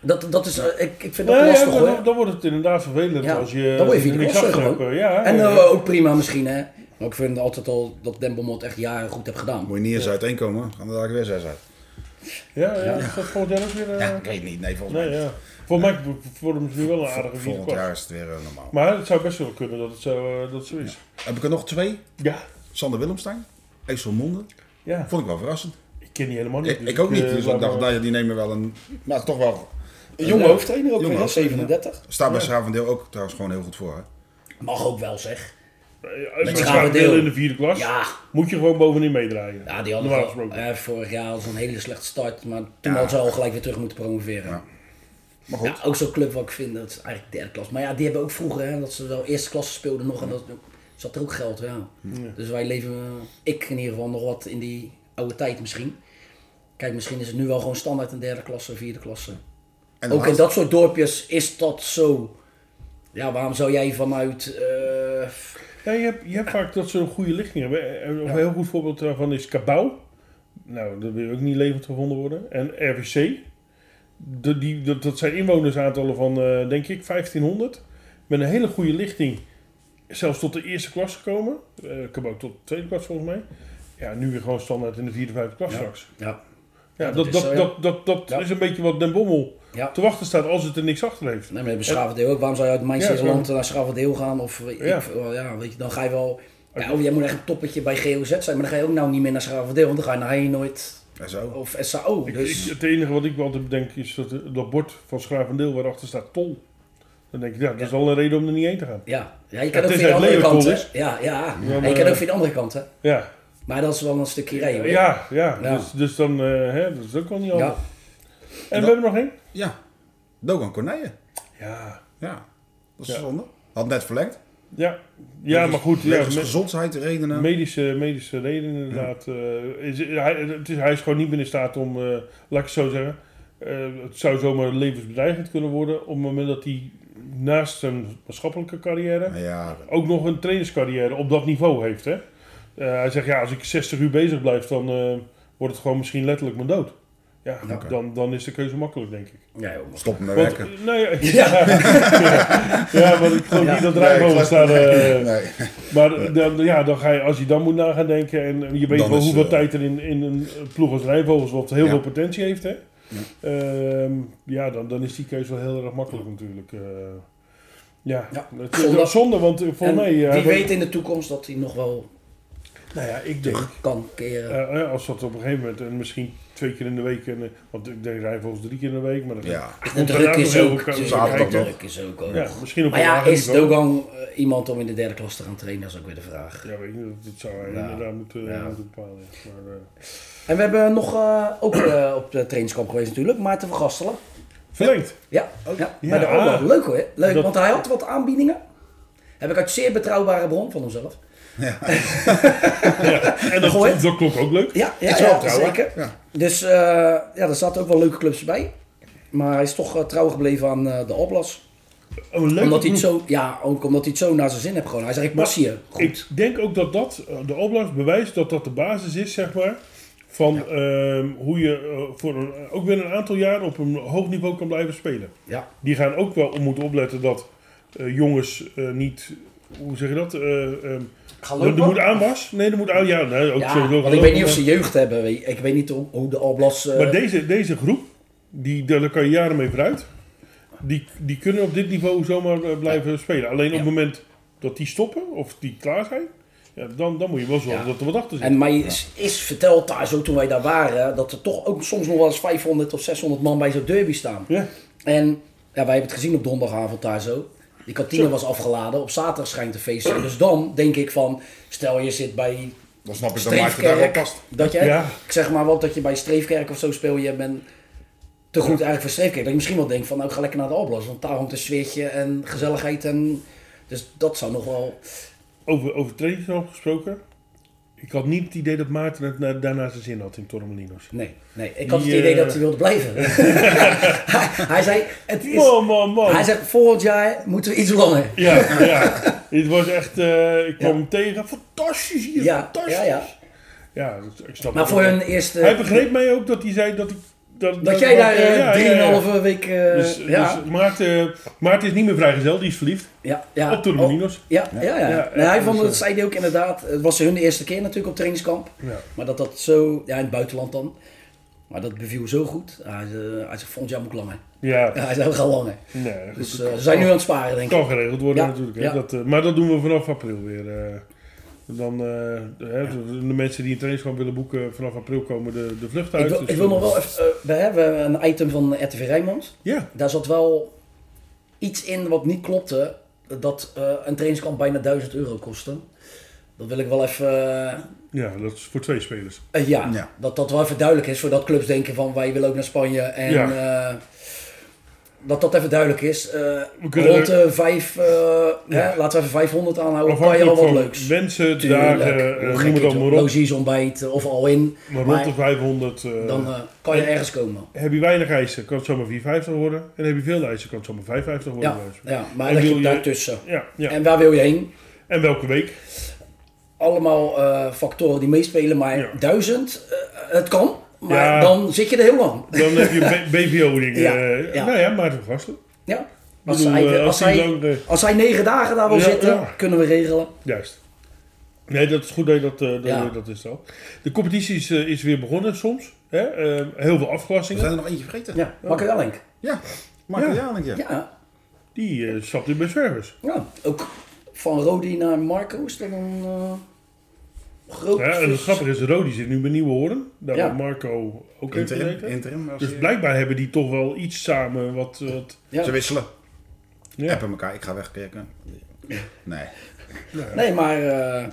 C: dat, dat is, eh, ik, ik vind dat
B: Ja, ja,
C: lastig
B: dan,
C: hoor.
B: dan wordt het inderdaad vervelend
C: Ja,
B: als je,
C: dan word je
B: als er
C: vierde
B: niks
C: klasse
B: achter
C: gewoon.
B: hebt. Ja,
C: en
B: ja.
C: eh, ook prima misschien hè. Maar ik vind altijd al dat Den Bommel het echt jaren goed heeft gedaan.
D: Moet je niet eens uiteenkomen, gaan er dadelijk weer zes uit.
B: ja, ja, is dat volgend jaar ook weer... eh,
D: Ja, ik weet niet. Nee, volgens
B: nee,
D: mij.
B: ja. Volgens mij vormen ze nu wel een aardige vierde
D: Volgend
B: kwart.
D: jaar is het weer eh, normaal.
B: Maar het zou best wel kunnen dat het zo, eh, dat het zo is.
D: Heb ik er nog twee?
B: Ja,
D: Sander Willemstein, IJsselmonde.
B: ja.
D: Vond ik wel verrassend.
B: Ik ken die helemaal niet.
D: Ik, ik ook niet.
B: eh,
D: Dus
B: laat
D: ik dacht,
B: maar-
D: nou ja, die nemen wel een. Maar toch wel.
C: Een jonge hoofdtrainer ook
D: Jonge
C: weer, hè,
D: hoofdtrainer.
C: 37.
D: Staat bij Schavendeel ook trouwens gewoon heel goed voor. Hè?
C: Mag ook wel zeg.
B: Eh, Als je
C: Met
B: gaat
C: Schavendeel.
B: deel in de vierde klas,
C: Ja.
B: moet je gewoon bovenin meedraaien.
C: Ja, die hadden
B: Normaal
C: wel-
B: gesproken.
C: eh, vorig jaar hadden ze een hele slechte start, maar
D: Ja.
C: toen hadden ze al gelijk weer terug moeten promoveren.
D: Ja.
C: Ja.
D: Maar goed.
C: ook zo'n club wat ik vind, dat is eigenlijk derde klas. Maar ja, die hebben ook vroeger, hè, dat ze wel eerste klasse speelden nog en dat zat er ook geld, ja. Dus wij leven, eh, ik in ieder geval, nog wat in die oude tijd misschien. Kijk, misschien is het nu wel gewoon standaard een derde klasse, vierde klasse.
D: En
C: ook in
D: laatst-
C: dat soort dorpjes is dat zo. Ja, waarom zou jij vanuit... eh,
B: Ja, je hebt, je hebt vaak dat ze een goede lichting hebben. En Een heel goed voorbeeld daarvan is Cabau. Nou, dat wil ook niet levend gevonden worden. En RVC. De, die, dat, dat zijn inwonersaantallen van, eh, denk ik, 1500. Met een hele goede lichting. Zelfs tot de eerste klas gekomen. Eh Cabau tot de tweede klas, volgens mij. Ja, nu weer gewoon standaard in de vierde, vijfde klas straks.
C: ja,
B: Ja,
C: Ja,
B: dat, dat,
C: dat is zo, ja.
B: dat, dat, dat
C: Ja.
B: is een beetje wat Den Bommel
C: ja.
B: te wachten staat als het er niks achter heeft.
C: Nee, maar hebben Schavendeel ook. Waarom zou je uit Mijnseeland
B: Ja,
C: naar Schavendeel gaan? Of eh,
B: Ja.
C: ik, veel- ja, weet je, dan ga je wel... Ja, of jij moet echt een toppetje bij GOZ zijn, maar dan ga je ook nou niet meer naar Schavendeel, want dan ga je naar Heijnoord
D: En zo.
C: of SAO.
B: Ik-
C: Dus
B: ik- het enige wat ik altijd bedenk is dat dat bord van Schravendeel waarachter staat tol. Dan denk ik, ja, dat is al een reden om er niet heen te gaan.
C: ja. ja, je
B: Ja,
C: kan ook via
B: tenzij
C: de
B: het
C: andere kant, hè.
B: Leeuwarden
C: Ja, ja.
B: dus. Ja,
C: En je
B: maar-
C: kan ook via de andere kant, hè.
B: Ja,
C: Maar dat is wel een stukje rijden, hoor.
B: ja, ja.
C: Ja.
B: Dus, dus dan, eh, hè, dat is ook al niet handig.
C: Ja.
B: En we hebben er nog één?
D: Ja. Dogan Corneille.
B: Ja,
D: Ja. Dat is
B: Ja.
D: zonde. Had net verlengd.
B: ja. ja maar goed. Ja,
D: Wegens
B: me-
D: gezondheidsredenen.
B: medische, medische reden inderdaad. eh, is, hij, het is, hij is gewoon niet meer in staat om, eh, laat ik het zo zeggen... eh, het zou zomaar levensbedreigend kunnen worden... op het moment dat hij naast zijn maatschappelijke carrière...
D: ja.
B: ook nog een trainerscarrière op dat niveau heeft. Hè? Eh, hij zegt, ja, als ik 60 uur bezig blijf, dan eh, wordt het gewoon misschien letterlijk mijn dood. Ja,
D: Oké.
B: dan, dan is de keuze makkelijk, denk ik.
C: Ja, [laughs] joh.
D: Stop met
B: Want,
D: werken.
B: eh, nee, [laughs] ja,
C: [laughs]
B: ja. ja, want ik geloof
C: Ja.
B: niet dat
D: Nee, ik
B: Rijnbogen
D: was-
B: staat. eh,
D: [laughs] Nee.
B: [laughs] Maar dan, ja, dan ga je, als je dan moet nagaan denken en je weet
D: Dan
B: wel
D: is,
B: hoeveel
D: eh,
B: tijd er in, in een ploeg als Rijnvogels, wat heel
D: Ja.
B: veel potentie heeft, hè? Ehm, ja, dan, dan is die keuze wel heel erg makkelijk natuurlijk. eh. ja,
C: Ja.
B: het is
C: Zonde.
B: ook zonde, want eh,
C: En
B: volgens mij... eh,
C: wie
B: hij-
C: weet in de toekomst dat hij nog wel
B: nou ja, ik denk,
C: kan keren.
B: eh, eh, als dat op een gegeven moment, en misschien twee keer in de week, en, eh, want ik deed Rijnvogels drie keer in de week, maar dat
D: Ja.
C: de
B: komt
C: druk
B: daarna nog
C: is
B: heel
C: ook...
B: veel
C: natuurlijk,
D: zaterdag
B: kijken.
C: De
D: nog.
C: druk is ook... hoor.
B: Ja, misschien op
C: Maar
B: een
C: ja,
B: lager
C: is
B: niveau.
C: Dogan eh, iemand om in de derde klas te gaan trainen? Dat is ook weer de vraag.
B: Ja, weet je, dat, dat zou hij
C: Ja.
B: inderdaad moeten, eh,
C: Ja.
B: moeten bepalen. ja. Maar, eh,
C: En we hebben nog eh, ook eh, op de trainingskamp geweest natuurlijk, Maarten van Gastelen. [laughs]
B: verlengd.
C: Ja, ja,
B: ja.
C: bij de Oorlog. Leuk hoor. Leuk,
B: Ah. Dat-
C: want hij had wat aanbiedingen. Heb ik uit zeer betrouwbare bron van hemzelf.
B: En dat,
C: Gehoord?
B: dat klonk ook leuk.
C: Ja, ja,
D: Is wel
C: ja,
D: trouw, hè?
C: zeker.
D: Ja.
C: Dus eh, ja, er zaten ook wel leuke clubs bij. Maar hij is toch eh, trouw gebleven aan eh, de Oblas.
B: Een leuke
C: Omdat hij
B: ploeg.
C: het zo, ja, ook omdat hij het zo naar zijn zin heeft gewoon. Hij zegt, ik pas hier. Goed.
B: Ik denk ook dat dat, eh, de opdracht bewijst dat dat de basis is, zeg maar. Van ehm, hoe je eh, voor een, ook weer een aantal jaar op een hoog niveau kan blijven spelen.
C: Ja,
B: Die gaan ook wel om moeten opletten dat eh, jongens eh, niet. Hoe zeg je dat? Eh, ehm,
C: ga
B: er, er moet aanwas. Nee, er moet aan. Ja, nee, ook
C: Ja,
B: sowieso gaan
C: want ik weet niet of
B: lopen,
C: ze jeugd hebben. weet- Ik weet niet hoe, hoe de Oblas... eh,
B: maar- Maar deze, deze groep, die, daar daar kan je jaren mee vooruit. die, die kunnen op dit niveau zomaar eh, blijven spelen. Alleen op het moment dat die stoppen of die klaar zijn, ja, dan, dan moet je wel zorgen
C: Ja.
B: dat er wat achter zit.
C: En mij is, is verteld daar zo toen wij daar waren, dat er toch ook soms nog wel eens 500 of 600 man bij zo'n derby staan.
B: ja.
C: En ja, wij hebben het gezien op donderdagavond daar zo. Die kantine was afgeladen, op zaterdag schijnt de feest te zijn. Dus dan denk ik van, stel je zit bij
D: Dan snap ik dat Maarten daar wel
C: Streefkerk.
D: past.
C: Dat je,
B: Ja.
C: ik zeg maar wat, dat je bij Streefkerk of zo speel je bent te goed eigenlijk voor Streefkerk. Dat je misschien wel denkt van, nou ik ga lekker naar de Alblas, want daar hangt een sfeertje en gezelligheid en... Dus dat zou nog wel...
B: Over overtredingen gesproken. Ik had niet het idee dat Maarten het na- daarna zijn zin had in Torremolinos.
C: Nee, nee. Ik had het
B: Die,
C: idee
B: eh,
C: dat hij wilde
B: [laughs]
C: blijven. [laughs] hij, hij zei, het is...
B: Man, man, man.
C: Hij zegt, volgend jaar moeten we iets langer.
B: Ja, ja. Het was echt, eh, ik kwam hem tegen. Fantastisch hier,
C: Ja,
B: fantastisch.
C: ja, ja.
B: Ja, dus ik snap
C: Maar
B: het
C: voor
B: wel.
C: hun eerste...
B: Hij begreep mij ook dat hij zei dat ik... Dat,
C: Eh, dat jij daar
B: ja, ja, ja.
C: eh, drieënhalve week... eh,
B: Dus,
C: ja,
B: dus Maarten, Maarten is niet meer vrijgezel, die is verliefd.
C: ja, ja. Oh,
B: Op Torremolinos.
C: Ja, ja, ja.
B: Ja,
C: Nee,
B: ja,
C: hij
B: dat
C: vond
B: is,
C: het,
B: eh,
C: zei hij ook inderdaad. Het was hun eerste keer natuurlijk op trainingskamp.
B: Ja.
C: Maar dat dat zo, ja, in het buitenland dan. Maar dat beviel zo goed. Hij, eh, hij zegt, volgend jaar moet ik langer. [laughs]
B: Ja,
C: Ja, hij zei, we gaan langer.
B: nee, goed,
C: Dus
B: het
C: eh, ze zijn nu aan het sparen, denk ik.
B: kan geregeld worden
C: Ja,
B: natuurlijk. Hè.
C: ja.
B: Dat, eh, maar dat doen we vanaf april weer. eh. dan eh, hè, de, de mensen die een trainingskamp willen boeken, vanaf april komen de, de vlucht uit.
C: Ik wil,
B: Dus,
C: ik wil nog
B: eh,
C: wel even... eh, we hebben een item van RTV Rijnmond.
B: Ja,
C: Daar zat wel iets in wat niet klopte. Dat eh, een trainingskamp bijna 1000 euro kostte. Dat wil ik wel even... eh,
B: ja, dat is voor twee spelers.
C: Eh, ja,
D: Ja.
C: Dat dat wel even duidelijk is. Voordat clubs denken van wij willen ook naar Spanje. En
B: Ja.
C: eh, dat dat even duidelijk is. Eh,
B: kunnen
C: rond de vijf, eh, hè, laten we even 500 aanhouden. Kan je wel
B: Afhankelijk
C: wat
B: van
C: leuks.
B: wensen,
C: Tuurlijk.
B: dagen, eh,
C: Hoe gek
B: noem het
C: is
B: allemaal
C: het?
B: op.
C: Logies, ontbijt eh, of al in.
B: Maar
C: Maar
B: rond de 500 eh,
C: dan eh, kan je ergens komen.
B: heb je weinig eisen, kan het zomaar 450 worden. En heb je veel eisen, kan het zomaar 550 worden.
C: Ja,
B: bij wijze van-
C: ja, maar
B: En
C: leg
B: wil
C: je
B: je-
C: daartussen.
B: Ja, ja. En,
C: En waar wil je heen?
B: welke week?
C: Allemaal eh, factoren die meespelen, maar
B: Ja.
C: 1000, eh, het kan. Maar
B: Ja.
C: dan zit je er heel lang.
B: Dan heb je B- BVO-dingen.
C: Ja,
B: eh,
C: ja.
B: Nou ja, Maarten van Gastel.
C: Ja.
B: Ik
C: Als,
B: bedoel,
C: hij,
B: eh,
C: als,
B: als hij
C: hij,
B: lang, eh,
C: als hij negen dagen daar wil
B: Ja,
C: zitten,
B: ja.
C: kunnen we regelen.
B: Juist. Nee, dat is goed dat je dat, eh, dat,
C: Ja.
B: dat is zo. De competitie is, eh, is weer begonnen soms. Hè? Eh, heel veel
D: We
B: afklassingen.
D: zijn er nog eentje vergeten. Ja,
C: Ja, Makker Elling.
D: Maarten
B: Ja.
D: Jalink, ja.
C: Ja,
B: Die eh, zat nu bij Zwervers.
C: ja, ook van Rodi naar Marco is dat een eh, groot
B: Ja, en het
C: vers-
B: grappige is, Rodi zit nu bij Nieuwe Hoorn. Daar
C: Ja.
B: waar Marco ook heeft
D: Interim.
B: gezeten.
D: interim als
B: Dus
D: je-
B: blijkbaar hebben die toch wel iets samen wat... wat
C: Ja.
D: Ze wisselen.
B: Ja.
D: Appen elkaar. Ik ga wegkijken. Nee.
C: Nee, maar eh,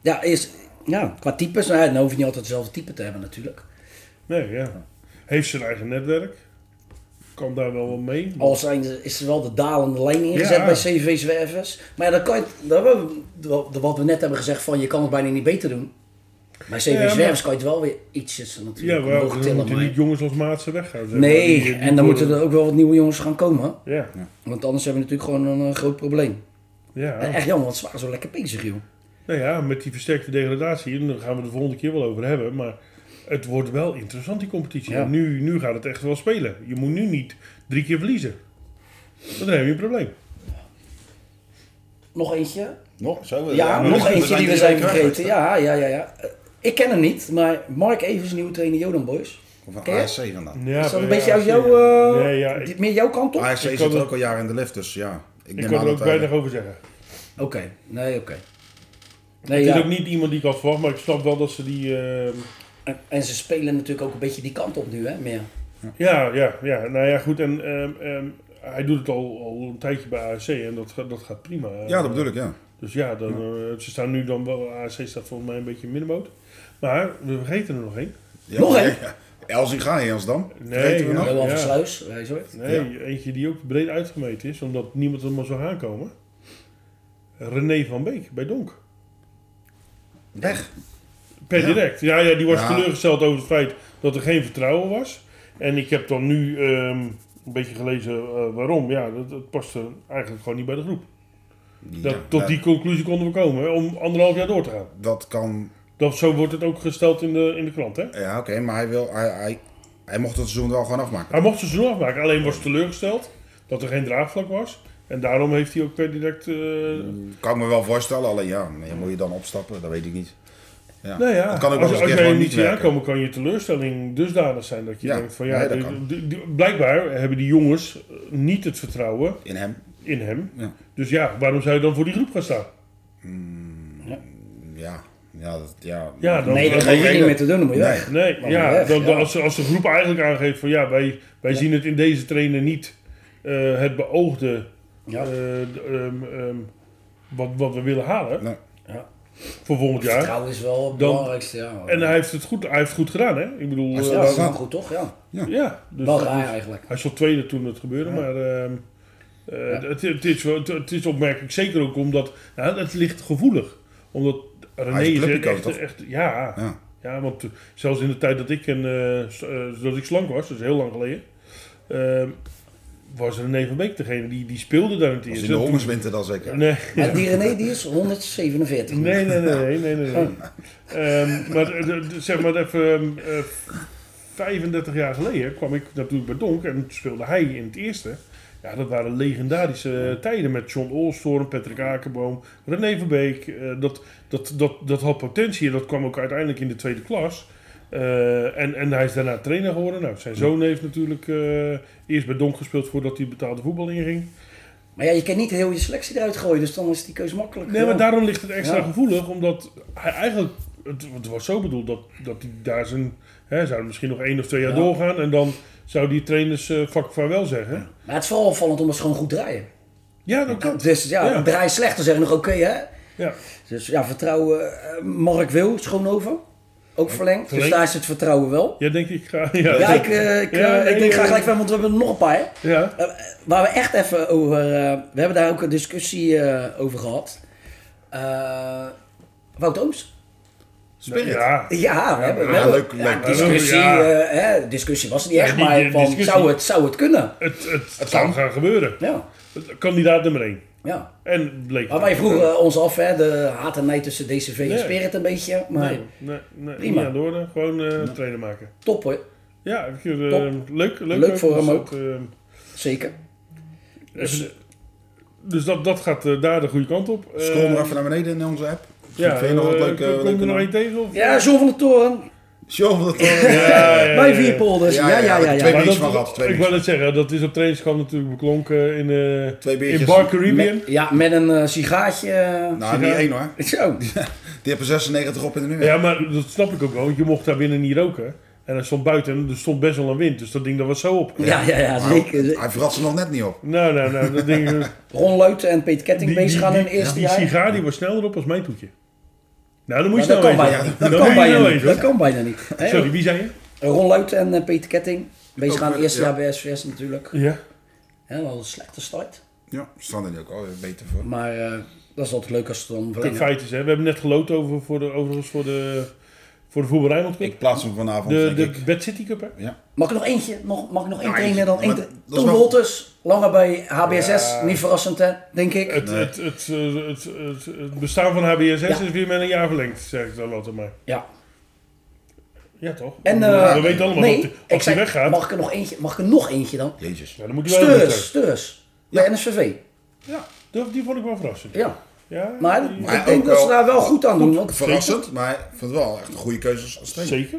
C: ja, is, ja, qua types, nou, ja, dan hoef je niet altijd hetzelfde type te hebben natuurlijk.
B: nee, ja. Heeft zijn eigen netwerk. Kan daar wel wat mee.
C: Al zijn, is er wel de dalende lijn ingezet
B: Ja.
C: bij CV Zwervers. Maar ja, dan kan je, het- dan hebben we- wat we net hebben gezegd van je kan het bijna niet beter doen. Bij CV
B: Ja, maar-
C: Zwervers kan je het wel weer ietsjes
B: Ja,
C: natuurlijk
B: we,
C: omhoog
B: we
C: tillen.
B: moeten
C: maar-
B: niet jongens als Maatsen weggaan. zeg maar. Die-
C: Nee,
B: die
C: en dan
B: worden-
C: moeten er ook wel wat nieuwe jongens gaan komen.
B: Ja,
C: Want anders hebben we natuurlijk gewoon een eh, groot probleem.
B: ja.
C: En Echt jammer, want ze waren zo lekker bezig, joh.
B: Nou ja, met die versterkte degradatie, en daar gaan we de volgende keer wel over hebben. Maar het wordt wel interessant, die competitie.
C: Ja.
B: En Nu, nu gaat het echt wel spelen. Je moet nu niet drie keer verliezen. Dan heb je een probleem.
C: Nog eentje?
D: Nog? Zo,
C: Ja,
D: eh,
C: nog eentje die we zijn
D: kwijt.
C: vergeten. Ja, ja, ja, ja. Eh, Ik ken hem niet, maar Mark Evers, nieuwe trainer Jodan Boys.
D: Of een
C: Ken je?
D: ASC vandaan.
B: Ja,
C: Is dat een
B: ja,
C: beetje uit
B: ja,
C: jouw...
B: ja.
C: eh,
B: Nee, ja,
C: di-
B: ik,
C: meer jouw kant op?
D: ASC
B: Ik
D: zit
B: kan
D: er
B: het-
D: ook al jaren in de lift, dus ja. Ik
B: ik
D: neem
B: kan
D: aan
B: er ook
D: dat
B: weinig
D: wij...
B: over zeggen.
C: Oké, nee, oké. Nee,
B: Het
C: ja.
B: is ook niet iemand die ik had verwacht, maar ik snap wel dat ze die... eh,
C: En, en ze spelen natuurlijk ook een beetje die kant op nu, hè, meer.
B: Ja, ja, ja. Nou ja, goed. En ehm, ehm, hij doet het al, al een tijdje bij ASC en dat, gaat- dat gaat prima.
D: Ja, dat bedoel ik, ja.
B: Dus ja, dan, eh, ze staan nu dan wel... ASC staat volgens mij een beetje in middenboot. Maar we vergeten er nog één.
D: ja
C: Nog één?
D: ja. Elzinga, Heelsdam.
B: Nee,
D: Vergeten we
B: ja.
D: nog?
C: Johan
B: ja.
C: van Sluis, wij zo.
B: Nee, eentje die ook breed uitgemeten is, omdat niemand hem maar zou aankomen. René van Beek bij Donk.
D: Weg.
B: Per
D: Ja.
B: direct. Ja, ja, die was
D: Ja.
B: teleurgesteld over het feit dat er geen vertrouwen was. En ik heb dan nu ehm, een beetje gelezen eh, waarom. Ja, dat, dat paste eigenlijk gewoon niet bij de groep. Dat,
D: Ja,
B: tot
D: dat-
B: die conclusie konden we komen hè, om anderhalf jaar door te gaan.
D: Dat kan...
B: Dat, zo wordt het ook gesteld in de, in de krant, hè?
D: Ja, oké, maar hij wil... Hij, hij, hij mocht het seizoen wel gewoon afmaken.
B: Hij mocht zijn seizoen afmaken, alleen was teleurgesteld dat er geen draagvlak was. En daarom heeft hij ook per direct eh,
D: Mm. Kan ik me wel voorstellen, alleen ja, nee, moet je dan opstappen? Dat weet ik niet. Ja.
B: Nou ja,
D: dat kan ook wel
B: als,
D: eens
B: als
D: een keer
B: jij
D: gewoon
B: niet
D: niet
B: ziet
D: werken.
B: aankomen, kan je teleurstelling dusdanig zijn dat je
D: Ja,
B: denkt van ja,
D: nee, dat
B: de-
D: kan.
B: de- de- blijkbaar hebben die jongens eh, niet het vertrouwen
D: In hem.
B: in hem.
D: Ja.
B: Dus ja, waarom zou je dan voor die groep gaan staan?
D: Ja. Ja, dat, ja.
B: Ja, dan-
C: Nee,
B: dat
C: dat
B: geen
C: hoef je niet
D: reden.
C: meer te doen. Dan moet je
D: Nee.
C: weg.
B: Nee,
C: Maar
B: ja,
C: weg,
B: dan, dan
C: ja.
B: Als, de- als de groep eigenlijk aangeeft van ja, wij, wij zien het in deze trainer niet eh, het beoogde
C: Ja.
B: eh, d- ehm, ehm, wat, wat we willen halen
D: Nee.
C: Ja.
B: voor volgend jaar.
C: Vertrouwen is wel het belangrijkste. Ja.
B: En hij heeft het goed, hij heeft het goed gedaan, hè? Ik bedoel, eh,
D: Hij
C: ja,
D: dat
C: dat
D: is
C: is
D: wel-
C: wel goed toch? Ja.
B: ja, dus
C: Wel
B: dat
C: raar
B: is-
C: eigenlijk.
B: Hij stond tweede toen het gebeurde, maar ehm, eh,
C: Ja.
B: het, het is, wel- het, het is opmerkelijk. Zeker ook omdat nou, het ligt gevoelig. Omdat René
D: is
B: is echt,
D: clubjecoach,
B: echt,
D: toch?
B: ja, ja.
D: Ja.
B: want eh, zelfs in de tijd dat ik, een, eh, s- eh, dat ik slank was, dat is heel lang geleden, ehm, was René van Beek degene die, die speelde daar in het
D: Als
B: eerst.
D: in de
B: Dat-
D: hongerswinter dan zeker.
B: Nee,
C: Maar die René die is 147.
B: nee, nee, nee, nee, nee. nee, nee. Ehm, maar eh, de- de- zeg maar even ehm, eh, 35 jaar geleden kwam ik natuurlijk bij Donk en speelde hij in het eerste. Ja, dat waren legendarische eh, tijden met John Olstorm, Patrick Akenboom, René Verbeek. Eh, dat, dat, dat, dat had potentie en dat kwam ook uiteindelijk in de tweede klas. Eh, en, en hij is daarna trainer geworden. Nou, zijn zoon heeft natuurlijk eh, eerst bij Donk gespeeld voordat hij betaalde voetbal inging.
C: Maar ja, je kan niet heel je selectie eruit gooien, dus dan is die keuze makkelijk.
B: Nee, maar
C: Ja.
B: daarom ligt het extra
C: Ja.
B: gevoelig, omdat hij eigenlijk, het, het was zo bedoeld dat, dat hij daar zijn, hè, zou misschien nog één of twee jaar
C: Ja.
B: doorgaan en dan zou die trainers eh, vak vaarwel zeggen. Ja,
C: Maar het is vooral opvallend omdat ze gewoon goed draaien.
B: dat kan.
C: Dus ja,
B: Ja.
C: draai slecht, dan zeggen we nog oké hè.
B: Ja.
C: Dus ja, vertrouwen. eh, Mark Wil, Schoonhoven, ook verlengd. Dus
B: verlengd.
C: daar zit het vertrouwen wel.
B: Jij denkt, ik ga...
C: Ja,
B: Ja,
C: ik, eh, ik, eh,
B: Ja, nee,
C: ik denk
B: eh,
C: graag gelijk weg, want we hebben er nog een paar. hè.
B: Ja,
C: Eh, waar we echt even over. eh, we hebben daar ook een discussie eh, over gehad. Eh Wout Ooms?
D: Spirit.
B: ja.
C: Ja, we hebben, we
D: ja,
C: hebben-
D: leuk, leuk.
C: ja, discussie,
B: Ja.
C: eh, hè, discussie was het niet
B: Ja,
C: echt,
B: die-
C: maar
B: die
C: van,
B: discussie.
C: zou, het, zou het kunnen?
B: Het, het,
D: Het
B: zou
D: kan.
B: gaan gebeuren.
C: Ja,
B: Kandidaat nummer één.
C: ja.
B: En bleek.
C: Maar wij vroegen ons af, hè, de haat en nijd tussen DCV en
B: Nee.
C: Spirit een beetje. Maar
B: Nee, nee, nee,
C: Prima.
B: niet aan de orde. Gewoon eh, trainer maken.
C: top hoor,
B: Ja, ik, eh, leuk,
C: Top.
B: leuk.
C: Leuk voor
B: was
C: hem
B: dat, eh,
C: zeker.
B: even de- dus dat, dat gaat eh, daar de goede kant op. Eh,
D: Scroll maar even naar beneden in onze app.
B: Ja,
D: Ja, vind je nog wat
B: eh,
D: leuk?
B: kom- kom je nog één tegen? Of?
C: Ja, John van der Toren,
D: Show
B: [laughs]
D: dat
B: Ja, ja,
C: bij
B: ja, ja.
C: Vierpolders.
D: Ja,
C: Ja, ja, ja.
D: ja,
C: ja,
D: twee-
B: Maar
D: Niks
B: dat,
D: van gehad, twee
B: ik
D: niks.
B: wil het zeggen, dat is op trainingskamp natuurlijk beklonken in, eh,
D: Twee biertjes.
B: in Bar Caribbean.
C: Met, ja, met een eh, sigaartje. eh,
D: Nou, niet één hoor.
C: Zo.
D: Die hebben 96 op in de muur.
B: Ja, maar dat snap ik ook wel, want je mocht daar binnen niet roken. En er stond buiten, en er stond best wel een wind, dus dat ding dat was zo op.
C: Ja, ja, ja,
D: Maar
C: zeker.
D: Hij verrat ze nog net niet op.
B: Nou, nou, nou, dat
D: [laughs]
B: ding... die-
C: Ron Luiten en Peter Ketting
B: die,
C: bezig gaan in het
B: die-
C: eerste
B: die
C: jaar.
B: sigaar die was sneller op als mijn toetje. Nou, dan moet
C: Maar
B: je
C: dat
B: snel
C: kan
B: weten.
C: bijna niet. Dat
B: Dan
C: kan
B: moet je
C: bijna
B: snel
C: niet.
B: weten.
C: Dat kan bijna niet. Hè,
B: nou Sorry, wie zei je?
C: Ron Luiten en eh, Peter Ketting bezig
D: Ook
C: gaan in
D: met-
C: het eerste
D: ja.
C: jaar bij SVS natuurlijk.
B: Ja.
C: Hè, wel een slechte start.
D: Ja, staan er nu ook alweer beter voor.
C: Maar eh, dat is altijd leuk als het dan
B: Kijk,
C: verlengen.
B: feit is, hè. we hebben net geloot over, voor de, overigens voor de, voor de Voetbal Rijnmond Cup.
D: Ik plaats hem vanavond,
B: De,
D: denk
B: de
D: ik.
B: Bad City Cup, hè?
C: Mag ik nog eentje? Nog, mag ik nog één
D: Nou,
C: trainer dan?
D: maar
C: Eén
D: dat
C: tra-
D: is
C: Toon
D: wel-
C: Wolters, langer bij HBSS.
B: Ja.
C: Niet verrassend hè, denk ik.
B: Het, het, het, eh, het, het, het bestaan van HBSS
C: Ja.
B: is weer met een jaar verlengd, zeg ik dan altijd maar.
C: ja.
B: Ja, toch?
C: En,
B: we,
C: eh,
B: weten allemaal
C: nee,
B: dat die-
C: ik
B: als hij
C: zei,
B: weggaat,
C: Mag ik er nog eentje, mag ik er nog eentje dan?
D: Jezus.
B: ja, dan moet hij wel weer
C: Steurs,
B: terug.
C: Steurs. Bij NSVV.
B: Ja, die, die vond ik wel verrassend.
C: Ja.
B: Ja,
C: Maar
B: die-
C: ik
D: Maar ook
C: denk dat ze
D: wel-
C: daar wel goed aan doen. Want
D: Verrassend, maar ik vind het wel echt een goede keuze als trainer.
B: zeker.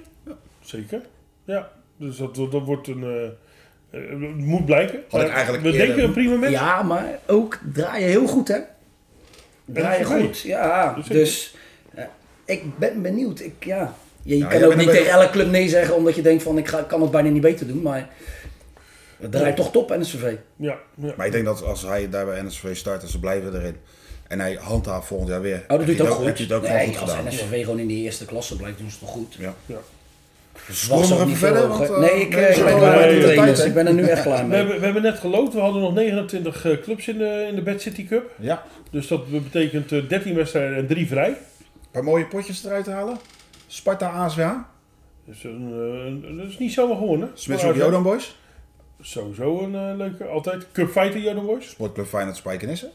B: Zeker. Ja, dus dat, dat wordt een... eh, eh, het moet blijken.
D: Had ik
B: Maar
D: eigenlijk
B: we
D: eerder-
B: denken een prima mens.
C: Ja, maar ook draai je heel goed, hè? Draai je
B: NSVV.
C: goed, ja.
B: Dus ik-
C: Dus eh, ik ben benieuwd. Ik, ja. Je, je
D: Ja,
C: kan
D: jij
C: ook
D: bent
C: niet
D: een
C: tegen
D: beetje-
C: elke club nee zeggen, omdat je denkt van ik ga, kan het bijna niet beter doen. Maar het draait toch top, NSV.
B: Ja, ja.
D: Maar ik denk dat als hij daar bij NSV start en ze blijven erin. En hij handhaaft volgend jaar weer.
C: Oh, dat doet
D: heeft hij
C: ook goed.
D: heeft hij het ook
C: Nee,
D: gewoon goed
C: als
D: gedaan.
C: NSV gewoon in die eerste klasse blijft, doen ze toch goed.
D: Ja.
B: ja.
C: Zwart
D: nog
C: nog
D: even
C: niet
D: verder,
C: verder.
D: want, eh,
C: nee, ik, eh,
D: nee,
C: ik
D: nee,
C: ben klaar
B: nee,
C: met de
B: nee,
C: trainers.
D: tijd,
C: Ik ben er nu echt
D: [laughs]
C: klaar
B: We
C: mee.
B: hebben, we hebben net geloot. We hadden nog 29 eh, clubs in de, in de Bad City Cup.
D: ja.
B: Dus dat betekent eh, 13 wedstrijden en 3 vrij.
D: Een paar mooie potjes eruit halen. Sparta ASWH.
B: Dus een, eh, een- dat is niet zomaar gewonnen.
D: Smits
B: Maar,
D: op
B: eh,
D: Jodan Boys.
B: Sowieso een eh, leuke, altijd. Cupfighter Jodan Boys.
D: Sportclub Feyenoord Spijkenisse.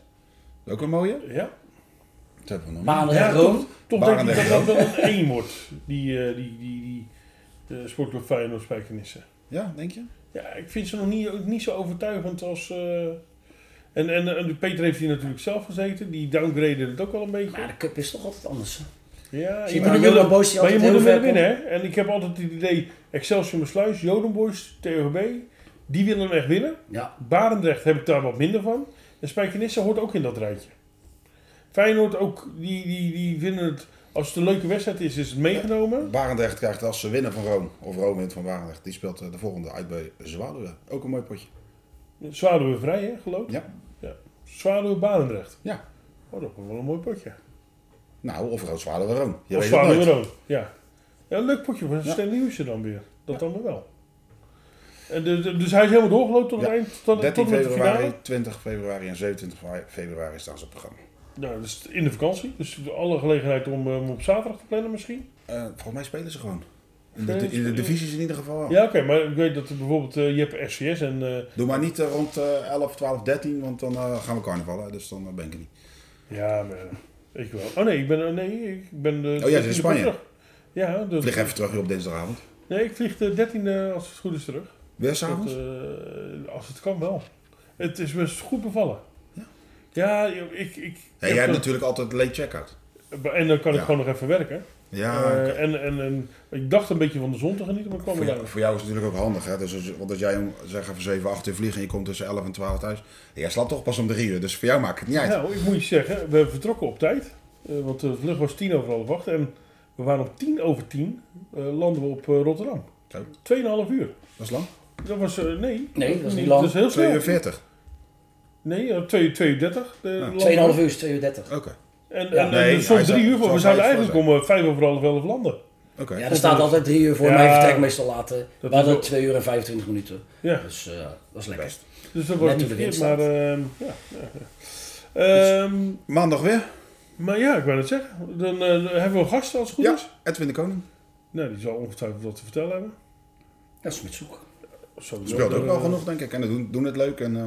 D: Ook een mooie.
B: Ja.
D: Dat hebben we nog niet.
C: Maandag Room.
B: Toch denk ik
D: Barendrecht
B: dat dat wel een 1 wordt. Die, eh, die, die, die eh, sportclub Feyenoord Spijkenissen.
D: Ja, denk je?
B: Ja, ik vind ze nog niet, ook niet zo overtuigend als... eh, en, en, en Peter heeft hier natuurlijk zelf gezeten. Die downgraded het ook wel een beetje.
C: Maar de cup is toch altijd anders. hè?
B: Ja,
C: Zie je,
B: maar
C: maar de
B: wil-
C: Joden Boys die
B: maar je
C: altijd
B: moet
C: heel
B: hem willen
C: ver
B: winnen, hè? En ik heb altijd het idee, Excelsior Sluis, Jodenboys, TOB, die willen hem echt winnen.
C: Ja,
B: Barendrecht heb ik daar wat minder van. En Spijkenisse hoort ook in dat rijtje. Feyenoord ook, die, die, die vinden het, als het een leuke wedstrijd is, is het meegenomen.
D: Barendrecht krijgt als ze winnen van Rome, of Rome wint van Barendrecht, die speelt eh, de volgende uit bij Zwaluwe. Ook een mooi potje.
B: Zwaluwe vrij, hè, geloof ik?
D: Ja.
B: Zwaluwe Barendrecht.
D: Ja.
B: Oh, dat wordt wel een mooi potje.
D: Nou, of Rood Zwaluwe Rome. Je
B: of
D: weet het
B: Zwaluwe
D: nooit.
B: Rood, ja. ja. Een leuk potje voor Stanley Nieuwsen dan weer. Dat dan weer wel. En de, de- dus hij is helemaal doorgelopen tot het
D: Ja.
B: eind, tot, tot
D: 13
B: en met de finale.
D: februari, 20 februari en 27 februari staan ze op het programma.
B: Nou, dat is in de vakantie. Dus alle gelegenheid om eh, hem op zaterdag te plannen misschien.
D: Eh, volgens mij spelen ze gewoon. In de, in de divisies in ieder geval wel.
B: Ja, oké. maar ik weet dat er bijvoorbeeld, eh, je hebt RCS en... eh,
D: Doe maar niet eh, rond eh, 11, 12, 13, want dan eh, gaan we carnavallen. Dus dan eh, ben ik er niet.
B: ja, maar, ik wel. Oh nee, ik ben... Nee, ik ben de,
D: jij zit in
B: 13e
D: Spanje.
B: terug. Ja, dus,
D: Vlieg even terug hier op dinsdagavond.
B: nee, ik vlieg de 13e als het goed is terug.
D: Weer
B: Dat,
D: s'avonds?
B: eh, als het kan wel. Het is me goed bevallen. Ja, ik... ik
D: Ja, jij hebt
B: ik-
D: natuurlijk altijd late check-out.
B: En dan kan ik
D: Ja.
B: gewoon nog even werken.
D: Ja,
B: Eh, en, en, en ik dacht een beetje van de zon te genieten, maar ik kwam
D: voor,
B: er
D: jou,
B: wel.
D: voor jou is het natuurlijk ook handig. Hè? Dus, als- want als jij om zeg even 7, 8 uur vliegt en je komt tussen 11 en 12 thuis. Jij slaapt toch pas om 3 uur, dus voor jou maakt het niet uit.
B: Nou, ik moet je zeggen, we vertrokken op tijd. Eh, want de vlucht was tien over half acht. En we waren om tien over tien eh, landen we op eh, Rotterdam.
D: Zo.
B: Tweeënhalf uur.
D: Dat is lang.
B: Dat was, eh, nee.
C: Nee, dat is
D: Mm,
C: niet
B: Dat
C: lang.
B: is heel
D: 2
B: snel.
D: uur 40.
B: Nee, eh, twee uur 2 uur 30. De landen.
C: 2,5 uur is 2 uur 30.
D: Oké. Oké.
B: En, en,
C: Ja.
B: en
D: Nee,
B: er stond
D: hij
B: drie
D: zou-
B: uur voor.
D: zou
B: We zouden
D: vijf
B: eigenlijk om eh, vijf over half elf landen.
C: Ja, er staat altijd 3 uur voor
B: Ja.
C: mijn vertrek meestal later. We
B: is
C: hadden
B: ook-
C: 2 uur en 25 minuten.
B: Ja,
C: Dus eh, dat is lekker.
D: Best.
B: dus dat was
C: Net
B: niet
C: hoe de wind
B: verkeerd. Maar, ehm, ja. ja. Ehm,
D: Maandag weer?
B: maar ja, ik wou het zeggen. Dan eh, hebben we een gast als het goed
D: Ja,
B: is.
D: Edwin de Koning.
B: Nou, die zal ongetwijfeld wat te vertellen hebben.
C: Dat is met zoek.
B: Sowieso,
D: Speelt ook
B: eh,
D: wel genoeg, denk ik. En doen, doen het leuk. En eh,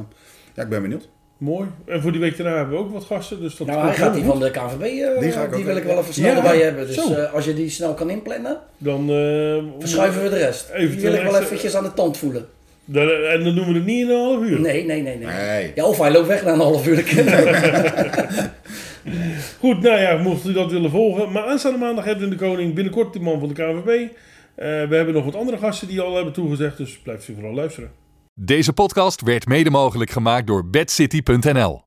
D: ja, ik ben benieuwd.
B: Mooi. En voor die week daarna hebben we ook wat gasten. Dus dat
C: Nou,
B: komt
C: hij gaat
B: heel
C: die
B: goed.
C: van de KVB. eh,
D: Die
C: die
D: ga ik ook
C: wil ik wel even snel
B: Ja,
C: erbij hebben. Dus
B: zo.
C: eh, als je die snel kan inplannen,
B: Dan eh,
C: verschuiven we de rest.
B: Even
C: die wil ik wel
B: terug-
C: eventjes aan de tand voelen.
B: Dan, eh, en dan doen we het niet in een half uur.
C: Nee, nee, nee, nee.
D: Nee.
C: Ja, of hij loopt weg na een half uur. Nee.
B: Goed, nou ja, mocht u dat willen volgen. Maar aanstaande maandag hebben we de koning binnenkort de man van de KNVB. Eh, we hebben nog wat andere gasten die al hebben toegezegd. Dus blijft u vooral luisteren.
A: Deze podcast werd mede mogelijk gemaakt door bedcity.nl.